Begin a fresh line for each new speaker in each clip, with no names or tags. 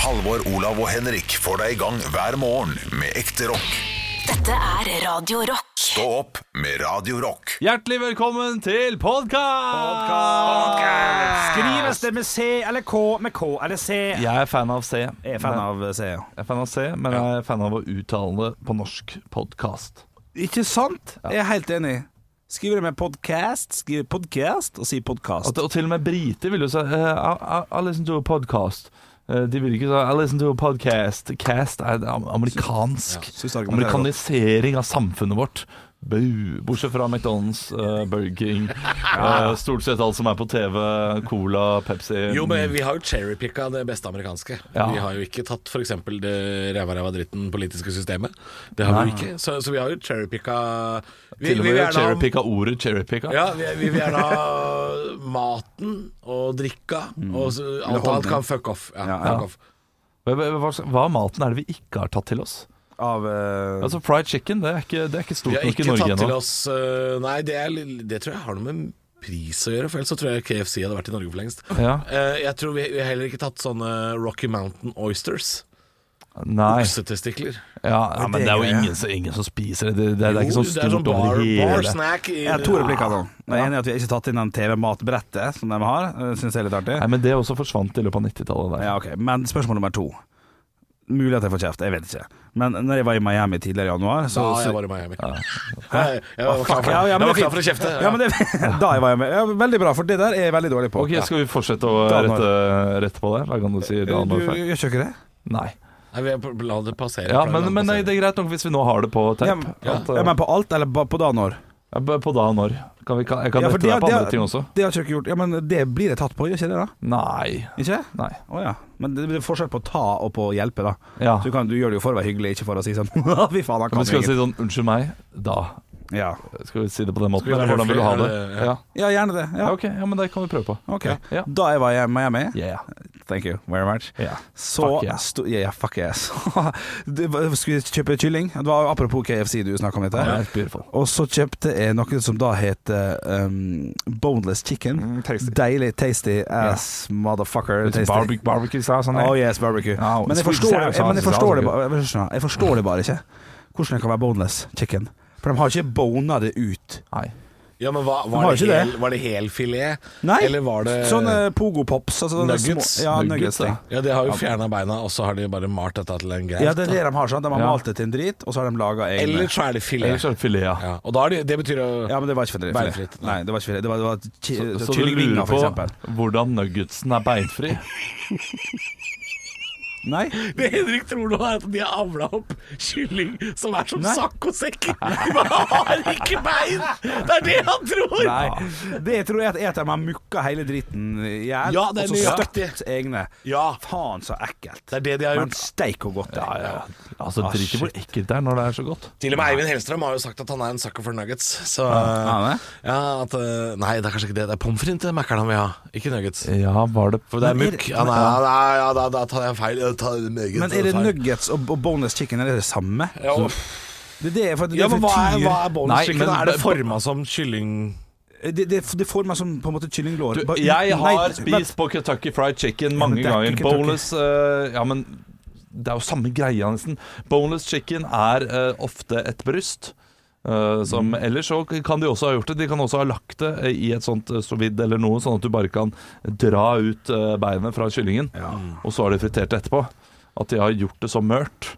Halvor, Olav og Henrik får deg i gang hver morgen med ekte rock.
Dette er Radio Rock.
Stå opp med Radio Rock.
Hjertelig velkommen til podkast!
Skrives det med C eller K, med K eller C?
Jeg er fan av C.
Jeg er fan av C. ja.
Jeg er fan av C, men jeg er fan av å uttale det på norsk podkast.
Ikke sant? Jeg er helt enig. Skriver det med podcast, skriver podcast og sier podcast.
Og til og med briter vil jo si eh, I, I, I listen to a podcast. Eh, De vil ikke si I listen to a podcast. Cast er am- amerikansk.
synes argumentet er
Amerikanisering av samfunnet vårt. Bu, bortsett fra McDonald's, eh, Burger King, eh, stort sett alt som er på TV, Cola, Pepsi
Jo, men vi har jo cherrypicka det beste amerikanske.
Ja.
Vi har jo ikke tatt f.eks. det ræva-ræva-dritten politiske systemet. Det har vi jo ikke. Så, så vi har jo cherrypicka vi,
Til og
vi vil
med
gjerne ha-
cherrypicka ordet cherrypicka.
Ja, vi, vi vil gjerne ha maten og drikka, og så, alt annet kan fuck off. Ja,
Ja,
fuck
Mm. ja.
off.
Hva, hva, hva- hva av maten er det vi ikke har tatt til oss?
Av eh,
Altså Fried chicken det er ikke, det er ikke
Vi
stort
har
nok
ikke
i Norge
tatt til
ennå.
oss øh, Nei, det, er, litt- det tror jeg har noe med pris å gjøre, for ellers så tror jeg KFC hadde vært i Norge for lengst.
Ja.
Eh, Jeg tror vi, vi har heller ikke tatt sånne Rocky Mountain Oysters.
Nei.
Oksetestikler.
Ja, ja, men
det
det er jo
greier.
ingen, som- ingen som spiser det. Det, det, det er ikke
Jo,
sånn stort over
bar, bar
hele
snack i,
Jeg har to replikker nå. Jeg er enig i at vi ikke har tatt inn den TV-matbrettet som de har. Eh, Synes jeg er litt artig.
Nei, men det også forsvant i løpet av 90-tallet. der.
Ja, ok. Men spørsmål nummer to. Mulig at jeg får kjeft, jeg vet ikke. Men når jeg var i Miami tidligere i januar så,
Da
så-
jeg var i Miami. Hæ? Jeg var klar
Ja,
for,
ja,
jeg
men
var
det er
klar for å
fint.
kjefte.
Ja, men det, da jeg var i Miami. Ja, veldig bra, for det der er jeg veldig dårlig på.
Ok, Skal vi fortsette å
Da må-
rette, rette på det hver gang du sier
Du,
Dan
du
var feil?
gjør ikke det?
Nei.
Nei, vi- La det passere.
Ja,
La
men,
det
men nei,
passere.
det er greit nok hvis vi nå har det på teip.
Ja, men-
At, eh,
Ja, men på alt, eller ba- på da når?
ja, b- på da og når. Kan vi, kan, jeg kan
Ja, for
rette deg
det-
på andre
det-
ting også.
Det har ikke jeg gjort. Ja, men det blir jeg tatt på, gjør ikke det da?
Nei.
Ikke?
Nei.
Å ja. Men det det er forskjell på å ta og på å hjelpe, da.
Ja.
Så du, kan, du gjør det jo for å være hyggelig, ikke for å si sånn Fy faen, han
Men
kan
skal vi si
ingen.
sånn 'unnskyld meg', da?
Ja.
Skal vi si det på den måten?
Skal vi
Eller hvordan
være
vil du ha det?
høflige, eller-
Ja.
ja, gjerne det. Ja.
ja, ok. Ja, men det kan vi prøve på.
Ok.
Ja.
Da jeg var i Miami
Yeah.
Thank you very much.
Ja.
Så
Fuck yeah.
sto- ja, ja, fuck yes. Det var- Skulle kjøpe kylling. Det var apropos KFC du snakka om dette.
Yeah, it's beautiful.
Og så kjøpte jeg noe som da heter um, boneless chicken.
Mm,
Deilig, tasty ass motherfucker.
Litt
tasty.
barbecue, barbecue sauce on
Oh
there.
yes, barbecue.
Ja,
men jeg
squeeze
forstår,
out
jeg, men jeg forstår,
sauce.
det, ba- jeg, forstår, jeg forstår det bare ikke. Hvordan det kan være boneless chicken. For de har ikke bona det ut.
Nei.
Ja, men hva,
har
var, det
ikke det.
hel, var det helfilet?
Nei.
Eller var det
Sånn,
Sånne Sånn, eh, pogo pops. Altså, sånne
Nuggets.
Små, ja,
Nuggets,
nuggets
eh, ja.
ja.
Ja, de har jo fjerna beina, og så har de bare malt dette til en greit.
ja, det er det de har. Sånn. De har
Ja.
malt det til en drit, og så har de laga egne
Eller så er det
Eller
filet.
så er det filet, ja.
Ja, og da er det, det betyr jo
Ja, men det var ikke for
Beinfritt.
Nei, det var ikke for det. var, det var ki-
Så, så du lurer
kyllingvinger,
på
for eksempel.
hvordan nuggetsen er beinfri?
Nei.
Det Henrik tror nå er at de har avla opp kylling som er som
Nei.
sakk og sekk. De bare har ikke bein! Det er det han tror!
Nei. Det jeg tror jeg at er at de har mukka hele dritten i hjel,
Ja, det
og
er
så
nøyaktig.
støpt egne.
Ja,
Faen, så ekkelt.
det er det de har
Men
gjort.
steik hvor godt det er.
Altså,
Ah,
Drit i hvor ekkelt det er når det er så godt.
Til og med Eivind Hellstrøm har jo sagt at han er en sucker for nuggets. Så
han
ja,
det?
at, eh, Nei, det er kanskje ikke det. Det er pommes frites til Mækkern han vil ha, ikke nuggets.
Ja, var det
For det er
Men er
mukk.
det-
Ja, nei, ja, nei, ja, da, da tar jeg feil. Jeg tar meget
Men er det
feil.
nuggets og, og boneless chicken er det det samme?
Ja, og-
Det, er det, for det,
ja, men
for
hva er,
tyr.
hva er
Nei,
bonus chicken?
men-
Er det forma som kylling...
det, det, det får meg som på en måte kyllinglår.
Du,
Bare-
jeg
nei,
har
vent.
spist på Kentucky Fried Chicken
men
mange
det er
ganger.
ikke Kentucky.
Boneless eh, Ja, men det er jo samme greia, nesten. Boneless chicken er eh, ofte et bryst. eh, som,
Mm.
Ellers så kan de også ha gjort det. De kan også ha lagt det eh, i et sånt sovid eller noe, sånn at du bare kan dra ut eh, beinet fra kyllingen. Og så har de fritert det etterpå. At de har gjort det så mørt.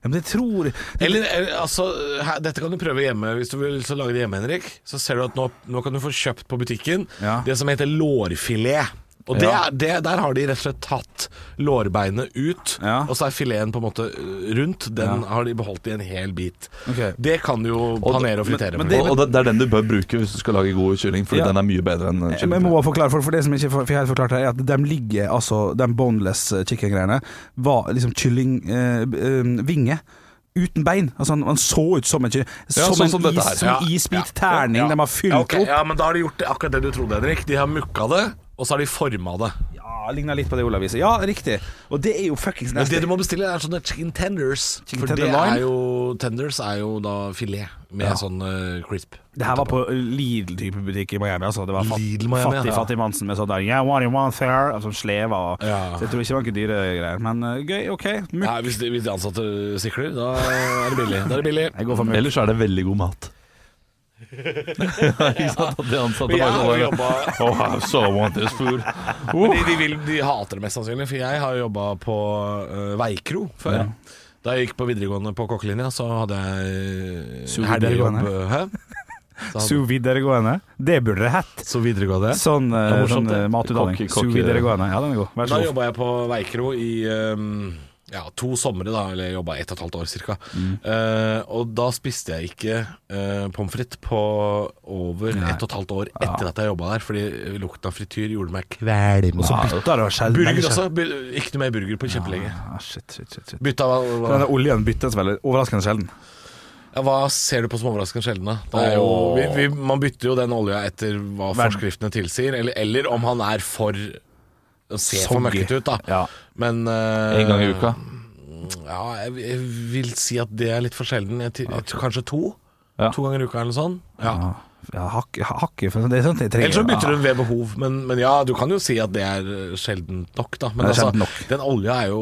ja, men jeg tror
Eller, eller, altså, her, dette kan du prøve hjemme. Hvis du vil så lage det hjemme, Henrik, så ser du at nå, nå kan du få kjøpt på butikken
Ja.
det som heter lårfilet. Og det,
Ja.
er- det, Der har de rett og slett tatt lårbeinet ut,
Ja.
og så er fileten på en måte øh, rundt. Den har de beholdt i en hel bit.
Ok.
Det kan du jo panere og fritere
men
med.
det-
og, og det, det er den du bør bruke hvis du skal lage god kylling, Fordi
Ja. Eh,
den er mye bedre enn
Men jeg
kylling.
må bare forklare for, for det som jeg ikke får- får helt forklart her, er at de ligger altså De boneless chicken-greiene var liksom kyllingvinge. Eh, vinge Uten bein. Altså han, han så ut som en kylling.
Ja,
som
sånn
en
som dette
is,
her.
som
Ja,
isbit
ja, ja,
terning
ja.
de har fylt
Ja, ok.
opp.
ja, men da har de gjort det, akkurat det du trodde, Henrik. De har mukka det, og så har de forma det.
Ja, ligna litt på det Olav viser. Ja, riktig. Og det er jo fuckings
Men det
nasty.
du må bestille, er sånne chicken tenders.
Chicken
for
tender
det
line?
er jo Tenders er jo da filet med sånn eh, crisp.
Det her var på Lidl-type butikk i Miami. Altså. Det var fat,
Lidl Miami,
fattig
ja.
fattig Mansen med sånn der Yeah, what do you want there? Altså, sleva og
Ja.
Så jeg tror ikke det var ikke dyre greier. Men eh, gøy, OK. Mukk.
Nei, hvis, de, hvis de ansatte sikler, da er det billig. Da er det billig.
Jeg går for mukk.
Ellers er det veldig god mat. Ikke sant at de ansatte
Men jeg har
bare
jo
sånn
jobbet-
Oh, I so want this food.
Men de,
Uh.
de, vil, de hater det mest sannsynlig, for jeg har jobba på eh, Veikro før. Da jeg gikk på videregående på kokkelinja, så hadde jeg eh,
Sous vide
helgejobb. eh,
videregående.
Hæ? Så hadde-
Sous videregående. Det burde det hett.
Så videregående.
Sånn, eh,
Det er morsomt,
sånn eh,
det.
matutdanning.
Kokk- kokk-
Sous videregående. Ja, den er god. Vær
Da
så god.
jobba jeg på Veikro i ehm, ja, to somre, da, eller jeg jobba ett og et halvt år cirka.
Mm.
Eh, og da spiste jeg ikke uh, pommes frites på over ett og et halvt år etter at jeg jobba der, fordi lukten av frityr gjorde meg kvalm.
Og så bytta det og skjell-
Burger
veldig
også. Bu- Ikke noe mer burger på kjempelenge.
Ah, shit, shit, shit, shit.
Bytta hva, hva,
Denne oljen byttes vel overraskende sjelden.
ja, hva ser du på som overraskende sjelden, da? Det er jo, vi, vi, man bytter jo den olja etter hva
Hver-
forskriftene tilsier, eller, eller om han er for Ser for
Soggy.
møkkete ut, da.
Ja.
Men eh,
En gang i uka.
Ja, jeg, jeg vil si at det er litt for sjelden. Jeg, ti- jeg, tror kanskje to.
Ja.
To ganger i uka eller noe sånt. Ja.
Ja, ja hakke, hakke for Det er sånt jeg trenger.
Eller så bytter hun ved behov. Men, men ja, du kan jo si at det er eh, sjeldent nok, da. Men
Det er
altså,
sjeldent nok.
den olja er jo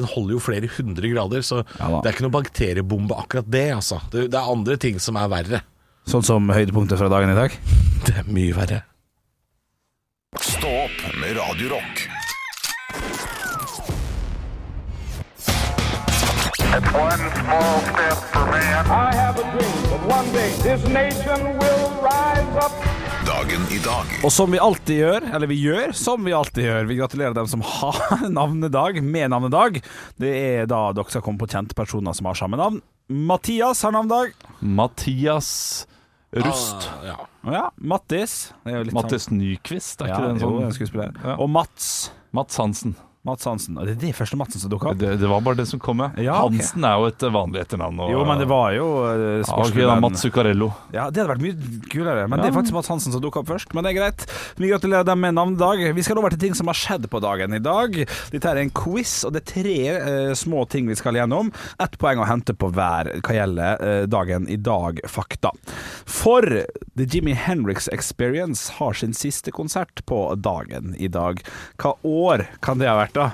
den holder jo flere hundre grader, så
Ja da.
det er ikke noe bakteriebombe akkurat det. altså Det, det er andre ting som er verre.
Sånn som høydepunktet fra dagen i dag.
Det er mye verre.
Stå opp med Radio Rock.
It's one small step for man.
I have a dream that one day this nation will rise up.
Dagen i dag.
Og som vi alltid gjør, eller vi gjør som vi alltid gjør, vi gratulerer dem som har navnedag med navnedag. Det er da dere skal komme på kjente personer som har samme navn. Mathias har navnedag.
Mathias Rust.
Ah, ja.
Ja, Mattis. Det er jo litt
Mattis Nyquist, er ikke
sånn. Ja,
det en
jo,
sånn
en skuespiller.
Ja.
Og Mats.
Mats Hansen.
Mats Hansen. Og Det er det første Madsen som dukka opp.
Det, det var bare det som kom, ja.
Ja, ok.
Hansen er jo et vanlig etternavn. og-
Jo, men det var jo
ja,
eh,
ok, da,
sportsklubben-
Mats Zuccarello.
Ja, det hadde vært mye kulere, men det er faktisk Mads Hansen som dukka opp først. Men det er greit. Vi gratulerer dem med navnedag. Vi skal over til ting som har skjedd på dagen i dag. Dette er en quiz, og det er tre eh, små ting vi skal gjennom. Ett poeng å hente på hver hva gjelder eh, dagen i dag-fakta. For The Jimmy Henriks Experience har sin siste konsert på dagen i dag. Hva år kan det ha vært, da?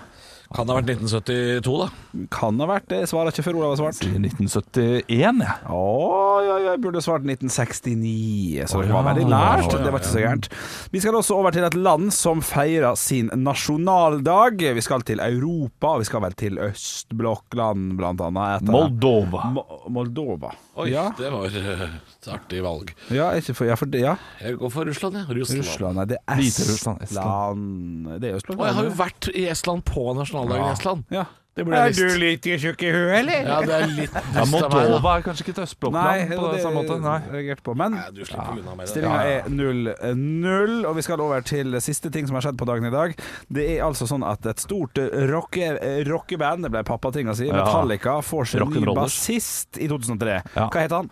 Kan det ha vært 1972, da?
Kan ha vært det. Jeg Svarer ikke før Olav har svart.
1971, ja.
Å, ja, ja, jeg burde svart 1969, så
Å,
det
ja.
var veldig nært.
Å, ja,
Det var ikke så gærent. Vi skal også over til et land som feirer sin nasjonaldag. Vi skal til Europa, og vi skal vel til østblokkland, blant annet. etter-
Moldova.
Mo- Moldova.
Oi,
Ja,
det var eh, et artig valg.
ja, ikke for, ja, for det, ja.
Jeg går for Russland, jeg. Russland.
Russland, nei, det er
Hviterussland,
Estland. Det er Østblokkland.
Og jeg har jo vært i Estland på nasjonaldagen i Estland.
Ja.
Det burde jeg visst.
litt tjukk i huet, eller?
Ja, det er litt dust
Ja,
av meg, da.
Moldova er kanskje ikke et
Nei,
østblokkland
det
på
var det
samme måte. Nei.
jeg reagerte på. Men
Nei, du slipper unna med det.
Stillinga er 0-0, og vi skal over til siste ting som har skjedd på dagen i dag. Det er altså sånn at et stort eh, rocke, eh, rockeband, det ble pappating å si,
Ja.
Metallica får sin ny
Rock'n'rollers.
bassist i 2003.
Ja.
Hva heter han?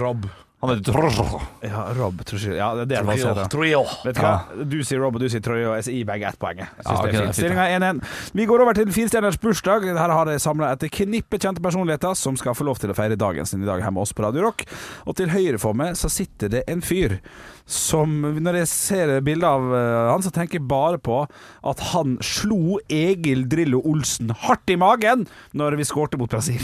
Rob.
Han heter Trosjov.
Ja, Rob, tror jeg. Ja, det er det han
Trio.
heter.
Trio.
Vet du hva? Du sier Rob, og du sier Troy, og jeg sier begge ett poenget. Jeg synes
Ja, ok,
det er
det er
fint.
fint,
Stillinga er 1-1. Vi går over til firestjerners bursdag. Her har jeg samla et knippe kjente personligheter som skal få lov til å feire dagen sin i dag her med oss på Radio Rock. Og til høyre for meg så sitter det en fyr som Når jeg ser bildet av eh, han, så tenker jeg bare på at han slo Egil Drillo Olsen hardt i magen når vi skårte mot Brasil.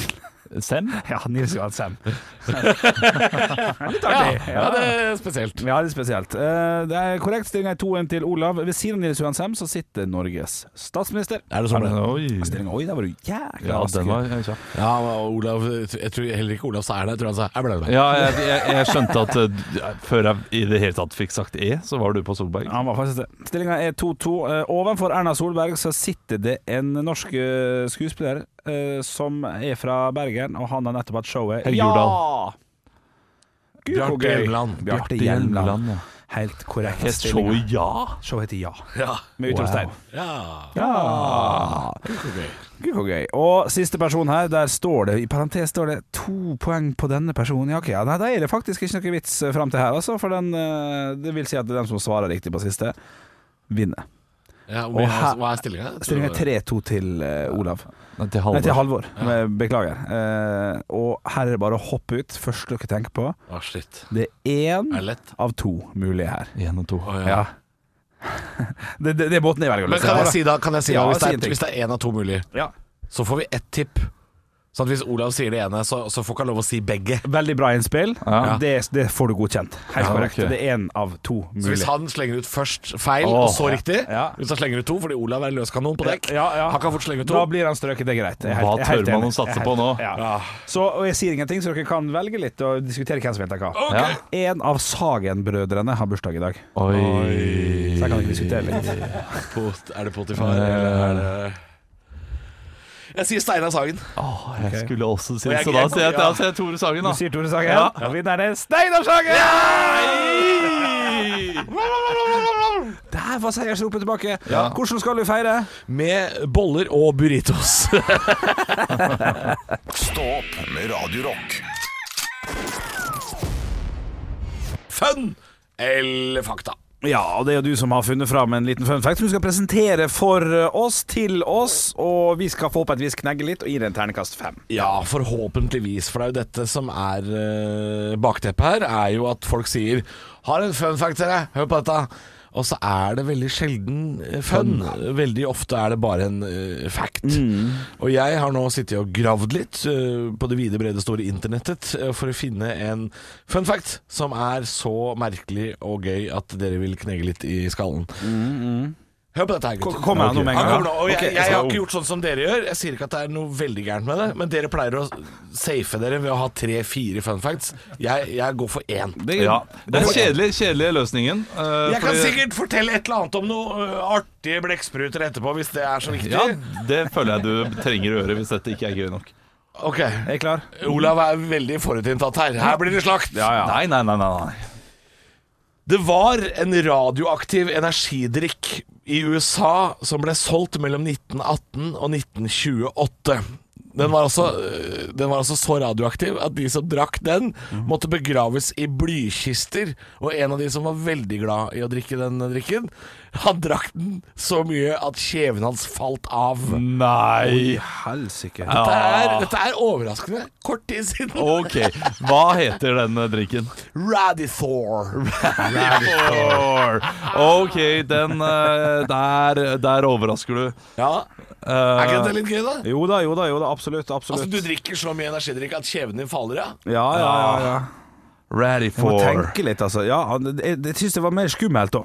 Sem?
Ja, Nils Johan Sem. Litt
Ja,
artig.
ja, det er spesielt.
Ja, litt spesielt. Eh, Det er korrekt stillinga er 2-1 til Olav. Ved siden av Nils Johan Sem så sitter Norges statsminister.
Er det sånn?
Er det- Oi.
Stillinga, oi, der var du jækla
Ja,
rask.
den var kjapp.
Ja, og Olav Jeg tror heller ikke Olav sa er det. Jeg tror han sa jeg ble det.
Ja, jeg, jeg, jeg skjønte at eh, før jeg i det hele tatt fikk sagt E, så var du på Solberg.
Han var faktisk det. Stillinga er 2-2. Eh, Ovenfor Erna Solberg så sitter det en norsk eh, skuespiller eh, som er fra Bergen, og han har nettopp hatt showet
Helge
Ja! Gud, hvor
Bjarte
gøy.
Hjelmeland.
Bjarte Hjelmeland. Helt korrekt.
Het showet Ja?
Showet heter Ja,
Ja.
med utropstegn.
ja.
Ja. Gud, hvor gøy. Og siste person her, der står det i parentes står det to poeng på denne personen. Ja, ok, ja, nei, da er det faktisk ikke noe vits eh, fram til her, altså. For den, eh, det vil si at den som svarer riktig på siste, vinner.
Ja,
Og
hvor mye
her-
er- hva er stillinga?
Stillingen er 3-2 til eh, Olav.
Nei, Til
Nei, til
halvår.
Halvor. Men Beklager. Eh, og her er det bare å hoppe ut. Første dere tenker på,
Å, Ah, shit.
det er én
Er det lett?
av to mulige her.
Én og to.
Å, ja.
Ja. det, det, det er båten jeg velger å
Men kan jeg si da, kan jeg si da
Ja,
hvis,
si
det
en
er,
ting.
hvis det er en av to mulig,
Ja.
så får vi ett tipp. Sånn at hvis Olav sier det ene, så, så får ikke han lov å si begge.
Veldig bra innspill.
Ja.
Det, det får du godkjent. Helt
Ja,
korrekt.
ok.
Det er én av to
Så hvis
mulige.
han slenger ut først feil,
Åh,
og så
ja.
riktig
Ja.
Hvis han slenger ut to, fordi Olav er løskanon på dekk
Ja, ja.
Han kan fort slenge ut to.
Da blir han strøket, det er greit. Jeg er
Hva
helt- jeg er helt
tør man å
enig.
satse
Jeg er
på
helt-
nå?
Ja. Så, og jeg sier ingenting, så dere kan velge litt og diskutere hvem som venter hva.
Ja.
En av Sagen-brødrene har bursdag i dag,
Oi.
så jeg kan ikke diskutere litt.
Pot- Er det Potifar, eller er det Jeg sier Steinar Sagen.
Åh, jeg skulle også si
Og jeg-
så da
jeg-
sier jeg, da
ja.
sier jeg Tore Sagen,
Du
da.
sier Tore Sagen,
Ja.
og vinneren er Steinar Sagen! Der var seiersropet tilbake. Hvordan skal du feire?
Med boller og burritos.
Stå opp med Radio Rock.
Fun eller fakta?
Ja, og det er jo du som har funnet fram en liten fun fact som du skal presentere for eh, oss, til oss, og vi skal forhåpentligvis knegge litt og gi det en ternekast fem.
Ja, forhåpentligvis. For det er jo dette som er eh, bakteppet her, er jo at folk sier 'Har en fun fact til deg, hør på dette'. Og så er det veldig sjelden eh, fun. Veldig ofte er det bare en eh, fact. Og jeg har nå sittet og gravd litt eh, på det vide, brede, store internettet eh, for å finne en fun fact som er så merkelig og gøy at dere vil knege litt i skallen. Hør på dette her, gutter.
Kommer jeg nå med en
Han
gang?
kommer nå, og jeg,
Ok,
jeg, har ikke gjort sånn som dere gjør. Jeg sier ikke at det er noe veldig gærent med det, men dere pleier å safe dere ved å ha tre-fire fun facts. Jeg, jeg går for én.
Ja. Den kjedelige, kjedelige løsningen. eh,
Jeg kan
fordi-
sikkert fortelle et eller annet om noe ø, artige blekkspruter etterpå, hvis det er så viktig.
Ja, det føler jeg du trenger å gjøre hvis dette ikke er gøy nok.
Ok,
Er jeg klar?
Olav er veldig forutinntatt her. Her blir det slakt.
Nei, nei, nei, nei, nei.
Det var en radioaktiv energidrikk i USA som ble solgt mellom 1918 og 1928. Den var, altså, øh, den var altså så radioaktiv at de som drakk den, måtte begraves i blykister. Og en av de som var veldig glad i å drikke den drikken, han drakk den så mye at kjeven hans falt av.
Nei.
Helsike.
Dette er, dette er overraskende kort tid siden.
Ok, hva heter den eh, drikken?
Radithor.
Radithor. Ok, den eh, der, der overrasker du.
Ja, er ikke
Eh,
dette litt gøy, da?
Jo da, jo da, jo da, absolutt.
Altså,
absolutt.
du drikker så mye energidrikk at kjeven din faller, ja?
Ja, ja, ja. ja. Jeg må
Radithor.
tenke litt, altså. Ja, han- jeg, jeg syns det var mer skummelt da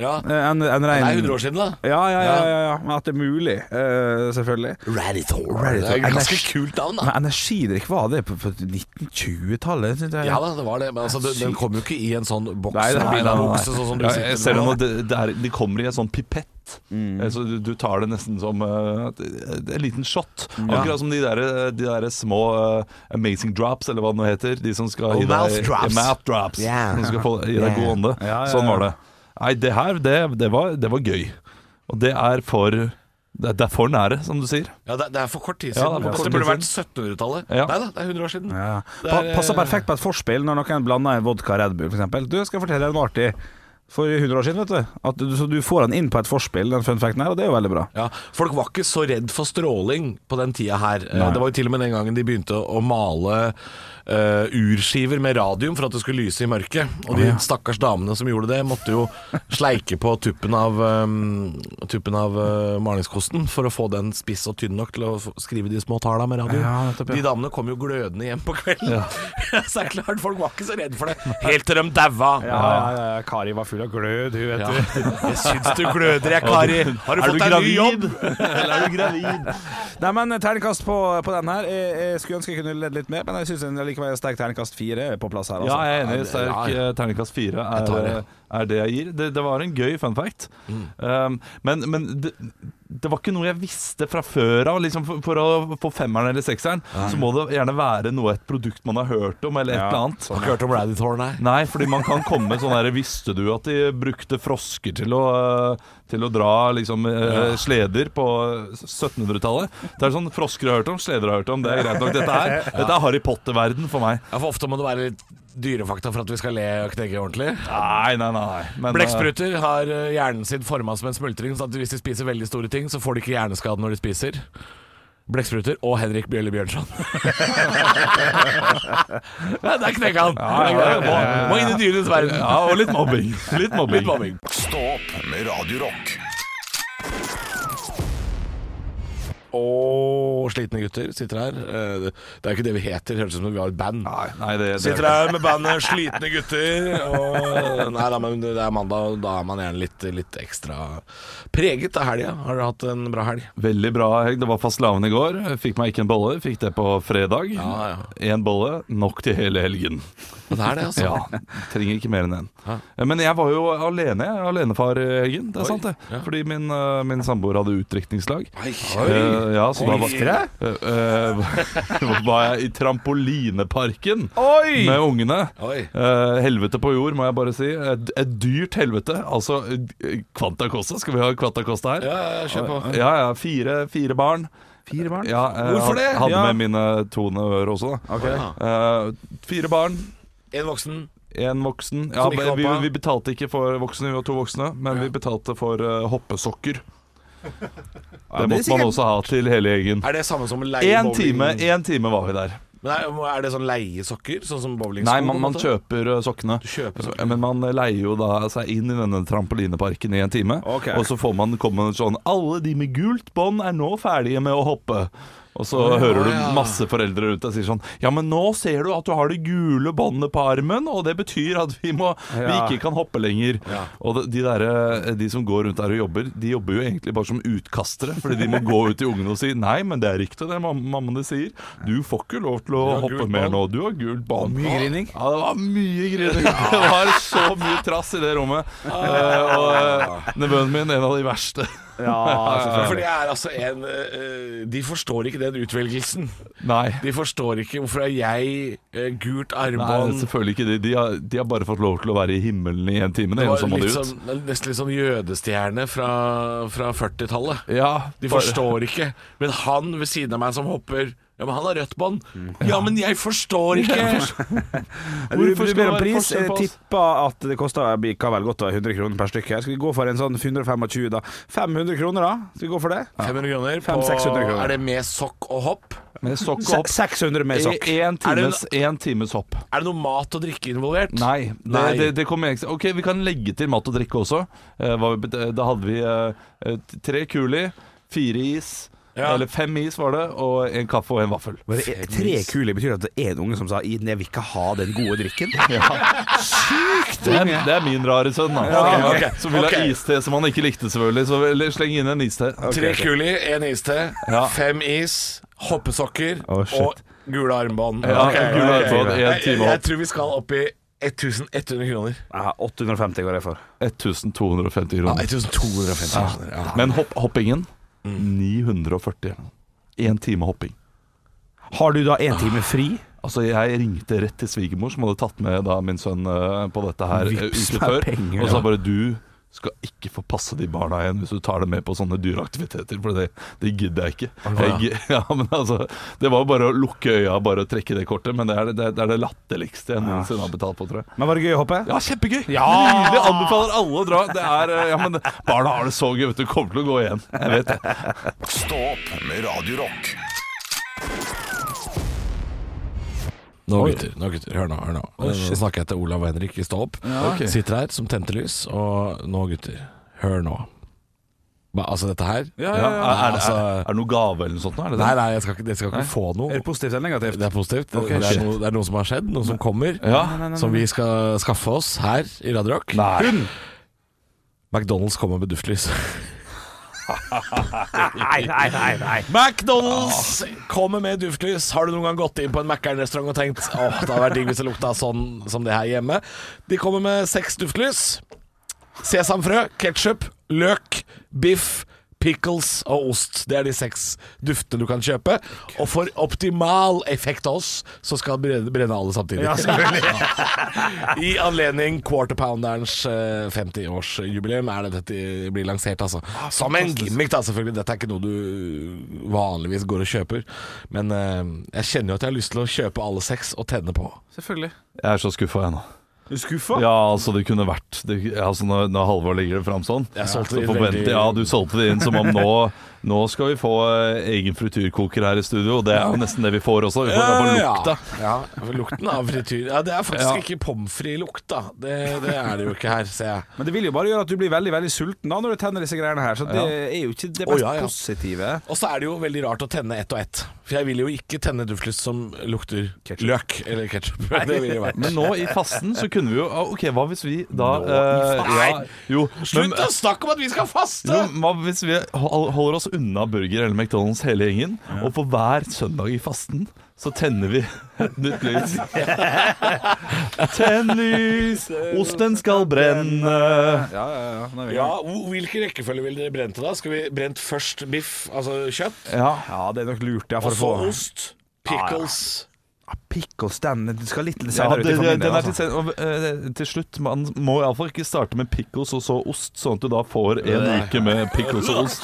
Ja.
eh, enn enn
Det
rein
er 100 år siden, da.
Ja, ja, ja, ja, ja. Men at det er mulig, eh, selvfølgelig.
Radithor.
Radithor.
Det er et ganske
Energi-
kult navn,
Men
da.
energidrikk var det på, på 1920-tallet? synes jeg.
Ja da, det var det. Men altså, den, den kom jo ikke i en sånn boks
Nei,
med
nei, nei,
bilabukse,
nei.
sånn som du
Ja,
sitter Mm.
jeg ser det nå,
med.
det, det er, de kommer i en sånn pipett. Eh, Så du, du tar det nesten som eh, et- et- en liten shot. Akkurat som de der, eh, de der små eh, Amazing Drops, eller hva det nå heter. De som skal gi deg
Oh, mouth drops.
Ja, Mouth drops
Yeah.
Som skal få, gi deg god ånde.
Ja, ja, ja.
Sånn var det. Nei, det her, det, det, var, det var gøy. Og det er for det, det er for nære, som du sier.
Ja, det, det er for kort tid
Ja,
siden.
det er for
det,
kort
burde
tid
vært 1700-tallet.
Ja.
Nei da, det er 100 år siden.
Ja.
Det
Pa
er,
passer perfekt på et forspill når noen blander en vodka Red Bull, f.eks. Du jeg skal fortelle deg noe artig for 100 år siden, vet du. At du. Så du får den inn på et forspill, den fun facten her, og det er jo veldig bra.
Ja, Folk var ikke så redd for stråling på den tida her. Eh, Det var jo til og med den gangen de begynte å male eh, urskiver med radium for at det skulle lyse i mørket. Og de stakkars damene som gjorde det, måtte jo sleike på tuppen av, eh, tuppen av eh, malingskosten for å få den spiss og tynn nok til å f- skrive de små talla med radium.
Ja, nettopp, ja.
De damene kom jo glødende hjem på kvelden. så det er klart, folk var ikke så redd for det. Helt til de daua.
Kari var full av glød, hun,
Ja. Jeg syns du gløder, jeg, Kari.
Er
Har du
du
fått deg ny
gravid?
jobb?
Eller er du gravid?
Nei, men terningkast på, på den her. Jeg, jeg skulle ønske jeg kunne ledd litt mer, men jeg syns likevel en sterk terningkast fire er på plass her,
Ja,
altså.
jeg er enig. Sterk
Ja,
eh, terningkast fire
Jeg tar
er, eh,
det. Mm.
er det jeg gir. Det, det var en gøy fun fact. Um, men men det, det var ikke noe jeg visste fra før av. Liksom for, for å få femmeren eller sekseren, så må det gjerne være noe et produkt man har hørt om, eller et
Ja,
eller annet.
Har ikke hørt om Radithor, nei.
Nei, fordi man kan komme sånn der Visste du at de brukte frosker til å, eh, til å dra liksom, eh, sleder på 1700-tallet? Det er sånn Frosker har hørt om, sleder har hørt om. Det er greit nok. Dette er, dette er Harry Potter-verden for meg.
Ja, for ofte må det være litt dyrefakta for at vi skal le og knegge ordentlig.
Nei, nei, nei. Men,
Blekkspruter har eh, hjernen sin forma som en smultring, så at hvis de spiser veldig store ting, så får de ikke hjerneskade når de spiser. Blekkspruter og Henrik Bjølle Bjørnson. ja, der knekka han. Der knekka han. Må- Må inn i dyrenes verden.
eh, ja, og litt mobbing. Litt mobbing.
Litt mobbing.
Stå opp med Radio Rock.
Og slitne gutter sitter her. Eh, Det det er jo ikke det vi heter, det høres ut som om vi har et band.
Nei, nei, det, det
Sitter her med bandet Slitne gutter. Og, nei da, men det er mandag, og da er man gjerne litt, litt ekstra preget av helga. Har dere hatt en bra helg?
Veldig bra helg. Det var fastelavn i går. Fikk meg ikke en bolle. Fikk det på fredag.
Ja, ja.
En bolle, nok til hele helgen.
Det er det, altså.
Ja, Trenger ikke mer enn én. Men jeg var jo alene, jeg. Alenefar i helgen. Det er sant, det. Fordi min, eh, min samboer hadde utdrikningslag. Eh, ja, så da var, Eh, eh, var jeg i trampolineparken
Oi!
med ungene.
Oi.
Eh, helvete på jord, må jeg bare si. Et, et dyrt helvete. Altså, eh, Quanta Costa. Skal vi ha Quanta Costa her?
Ja, ja, kjør på.
Ja, ja. Fire, fire barn.
Fire barn?
Ja, eh,
Hvorfor det?
Hadde
Ja.
med mine tone øre også, da.
Ok.
Ja.
Eh, fire barn,
En voksen.
én voksen. Ja,
Som ikke
vi,
hoppa.
vi betalte ikke for voksne, vi var to voksne, men vi betalte for eh, hoppesokker.
det
det
er
måtte
sikkert-
man også ha til hele gjengen.
Er det samme som å leie
Én time,
bowling-
en time var vi der.
Nei, er det sånn leiesokker? Sånn som bowlingsko?
Nei, man,
på en
man
måte?
kjøper eh, sokkene.
kjøper sokker.
Men man leier jo da seg inn i denne trampolineparken i en time.
Ok.
Og så får man komme sånn Alle de med gult bånd er nå ferdige med å hoppe. Og så hører du
ja.
masse foreldre rundt deg sier sånn Ja, men nå ser du at du har det gule båndet på armen, og det betyr at vi, må, vi
Ja.
ikke kan hoppe lenger. Og de, de, derre- de som går rundt der og jobber, de jobber jo egentlig bare som utkastere. Fordi de må gå ut til ungene og si Nei, men det er ikke det mam- mammaene sier. Du får ikke lov til å
har
hoppe
gult
mer
bånd.
nå. Du har gult bånd.
Mye grining.
Ja, det var mye grining. Det var så mye trass i det rommet. Eh, og eh, nevøen min, en av de verste.
Ja,
Ja, For
selvfølgelig.
det er altså en eh, De forstår ikke den utvelgelsen.
Nei.
De forstår ikke hvorfor er jeg eh, gult
Nei,
armbånd
selvfølgelig ikke. De, de, har, de har bare fått lov til å være i himmelen i en time. Det, liksom-
Det
ene
var
som må
litt
de ut.
sånn, nesten litt sånn jødestjerne fra, fra 40-tallet.
Ja,
De
bare-
forstår ikke. Men han ved siden av meg som hopper Ja, men han har rødt bånd. Ja, men jeg forstår ikke!
Du,
Hvorfor
du
skal
ber
det
om
være
pris.
forskjell
Jeg
på oss?
tipper at det koster hva vel godt over 100 kroner per stykke. Skal vi gå for en sånn 125, da? 500 kroner, da? Skal vi gå for det?
500 kroner. På,
500-600 kroner.
Er det med sokk og hopp?
Med sokk
Se-
opp.
600 med sokk.
I en
Er det
times, en times hopp.
Er det noe mat og drikke involvert?
Nei. Det,
Nei.
det, det kommer jeg ikke Ok, vi kan legge til mat og drikke også. Eh, hva vi bet- eh, da hadde vi eh, eh, tre kuli, fire is,
Ja.
eller fem is var det, og en kaffe og en vaffel.
Var det e- Tre kuler betyr at det er en unge som sa «Iden, 'jeg vil ikke ha den gode drikken'.
Det er, det er min rare sønn, da.
Ok, ok,
Som vil ha
ok.
iste som han ikke likte, selvfølgelig. Så vel, sleng inn en iste.
Tre kuli, én iste, fem is, hoppesokker
Å, shit.
og gule armbånd.
Ja,
Ok,
gule
ok.
armbånd, en
Jeg,
time
jeg, jeg
hopp.
tror vi skal opp i 1100 kroner.
Ja, 850 går jeg for.
1250 kroner.
1250 kroner. Ja.
Men hopp, hoppingen 940. Én time hopping.
Har du da en time fri?
Altså Jeg ringte rett til svigermor, som hadde tatt med da min sønn eh, på dette her eh,
Vips
uke
meg
før.
penger,
og sa
ja.
bare du skal ikke få passe de barna igjen hvis du tar dem med på sånne dyreaktiviteter, for det, det gidder jeg ikke. Jeg, gi- ja, men altså, det var jo bare å lukke øya og bare trekke det kortet, men det er det, det, er det latterligste jeg noensinne har betalt på, tror jeg.
Men var det gøy å hoppe?
Ja, kjempegøy! Nydelig! Anbefaler alle å dra. Det er, eh, ja, men Barna har det så gøy, vet du. Kommer til å gå igjen. Jeg vet det.
Stå opp med Radio Rock.
Nå gutter, nå gutter, hør nå, hør nå. nå snakker jeg til Olav og Henrik i Stå opp.
Ok.
Sitter her som tente lys, og nå gutter, hør nå. Ba, altså dette her?
Ja, er, er, det-
Altså-
er, er det noe gave eller noe sånt? nå? Er det det?
Nei, nei, jeg skal ikke, dere skal ikke få
Er
noe.
det positivt eller negativt?
Det er positivt.
Ok,
det,
shit.
er noe, det er noe som har skjedd, noe som kommer,
Ja.
som vi skal skaffe oss her i Radio Rock.
Nei.
McDonald's kommer med duftlys.
Nei, nei, nei, nei.
McDonald's kommer med duftlys. Har du noen gang gått inn på en Mækkern-restaurant og tenkt åh, det hadde vært digg hvis det lukta sånn som det her hjemme? De kommer med seks duftlys. Sesamfrø, ketsjup, løk, biff, pickles og ost. Det er de seks duftene du kan kjøpe. Og for optimal effekt av oss, så skal han brenne, brenne alle samtidig. I anledning Quarter Pounderens eh, 50-årsjubileum er det dette blir lansert, altså.
Ah,
Som en gimmick, da, selvfølgelig. Dette er ikke noe du vanligvis går og kjøper. Men eh, jeg kjenner jo at jeg har lyst til å kjøpe alle seks og tenne på.
Selvfølgelig.
Jeg er så skuffa ennå.
Du er skuffa?
Ja, altså det kunne vært det, altså når, når Halvor legger det fram sånn
Jeg
så
solgte det
forventer-
veldig-
Ja, du solgte det inn som om nå Nå skal vi få eh, egen frityrkoker her i studio Og det er jo nesten det vi får også Vi får i hvert fall lukta
Ja, ja, lukten av frityr Ja, det er faktisk
Ja.
ikke pommes frites-lukt, da. Det, det er det jo ikke her, ser jeg.
Men det vil jo bare gjøre at du blir veldig veldig sulten da når du tenner disse greiene her, så det er jo ikke det
Å,
mest
ja, ja.
positive.
Og så er det jo veldig rart å tenne ett og ett. For jeg vil jo ikke tenne duftlyst som lukter løk eller ketsjup. Det ville jo vært
Men nå i fasten så kunne vi jo ah, Ok, hva hvis vi da
Nå i
eh,
fasten?
ja, jo,
Slutt
men-
å snakke om at vi skal faste!
jo, hva hvis vi hol- holder oss unna burger eller McDonalds hele gjengen Og på hver søndag i fasten Så tenner vi et nytt lys Tenn lys Osten skal brenne
Ja, ja, ja. Nå er vi i
Ja,
gang.
hvor- Hvilken rekkefølge vil dere brente da? Skal vi brent først biff, altså kjøtt,
Ja
ja, det er nok lurt, ja,
og
for å
så
få
ost, pickles
Ah, Pickles, den du skal litt
Ja,
senere
det,
ut i
det,
familien.
den er til,
altså.
sen- og, eh, til slutt Man må iallfall ikke starte med pickles og så ost, sånn at du da får en uke med pickles og ost.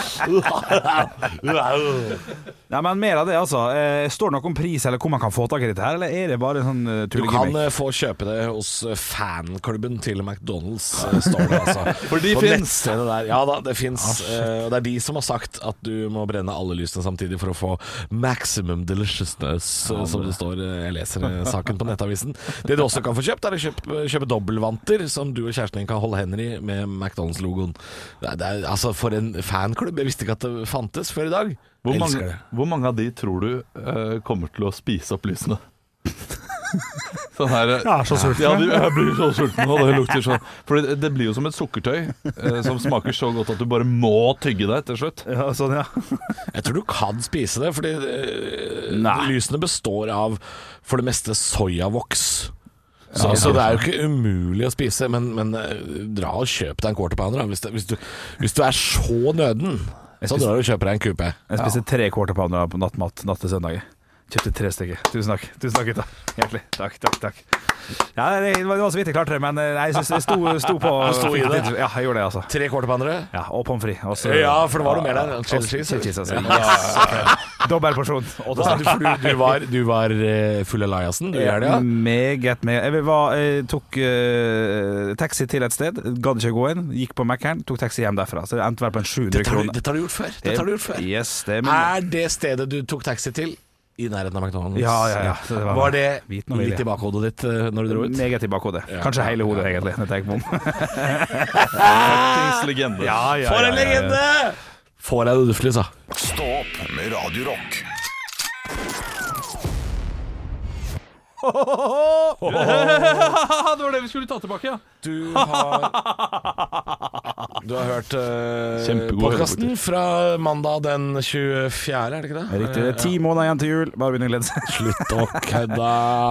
Nei, men mer av det, altså. Eh, står det noe om pris, eller hvor man kan få tak i dette her, eller er det bare en sånn uh,
Du kan
tullegimmick?
eh, få kjøpe det hos eh, fanklubben til McDonald's, eh, står det altså.
For de
På
finnes. Ah,
nettstedet Der. Ja da, det fins. og det er de som har sagt at du må brenne alle lysene samtidig for å få maximum deliciousness, eh, som det står. eh, Jeg leser eh, saken på nettavisen. Det du også kan få kjøpt, er å kjøpe, kjøpe dobbeltvanter som du og kjæresten din kan holde hender i med McDonald's-logoen. Det er- det er- Altså, for en fanklubb. Jeg visste ikke at det fantes før i dag.
Hvor
Jeg elsker
mange,
det.
hvor mange av de tror du eh, kommer til å spise opp lysene? Sånn her eh,
Jeg er så sulten.
Ja, du, jeg blir så sulten, og det lukter sånn. For det, det blir jo som et sukkertøy eh, som smaker så godt at du bare må tygge deg til slutt.
Ja, sånn, ja.
Jeg tror du kan spise det, fordi eh, lysene består av for det meste soyavoks. Så, så det er jo ikke umulig å spise, men, men eh, dra og kjøp deg en quarter pounder da, hvis, det, hvis, du, hvis du er så nøden. Så drar du og kjøper deg en kupe.
Jeg spiste tre quarter pounder på nattmat natt til søndag. Kjøpte tre stykker. Tusen takk, tusen takk gutta. Hjertelig. Takk, takk, takk. Ja, det var det var så vidt jeg klarte det, men eh, jeg synes jeg sto, sto på.
Du sto i det?
Ja, jeg gjorde det, altså.
Tre quarter poundere?
Ja, og pommes frites. og så-
Ja, for det var noe mer der.
Og så
Cheddar cheese.
Cheddar cheese, altså. Yes. Dobbel porsjon. Og
Hva sa du, for du, du var, du var eh, full av Eliassen, du er
Mm.
det, ja?
Meget, meget. Jeg var, eh, tok eh, taxi til et sted, gadd ikke gå inn, gikk på Mækkern, tok taxi hjem derfra. Så det endte vel på en 700
Dette har, du,
kroner.
dette har du gjort før. Dette har du gjort før.
Yes, det er min.
Er det stedet du tok taxi til i nærheten av McDonald's?
Ja, ja, ja. Så det var-
var det
Viten og vilje.
litt i bakhodet ditt eh, når du dro ut?
Meget i bakhodet. Kanskje hele hodet, egentlig. når jeg tenker meg om.
Fuckings legende.
For en legende! Får jeg det duftlys, da.
Stå opp med Radio Rock.
det var det vi skulle ta tilbake, ja.
Du har Du har hørt uh,
Kjempegod
podkasten fra mandag den 24., er det ikke det?
Riktig. Det er ti måneder igjen til jul. Bare begynn å glede seg.
Slutt å kødde!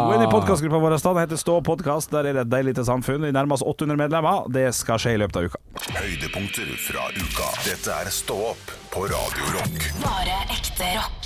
Gå inn i podcastgruppa vår. Den heter Stå podkast. Der er det et deilig lite samfunn. Vi nærmer oss 800 medlemmer. Det skal skje i løpet av uka.
Høydepunkter fra uka. Dette er Stå opp på Radio Rock.
Bare ekte rock.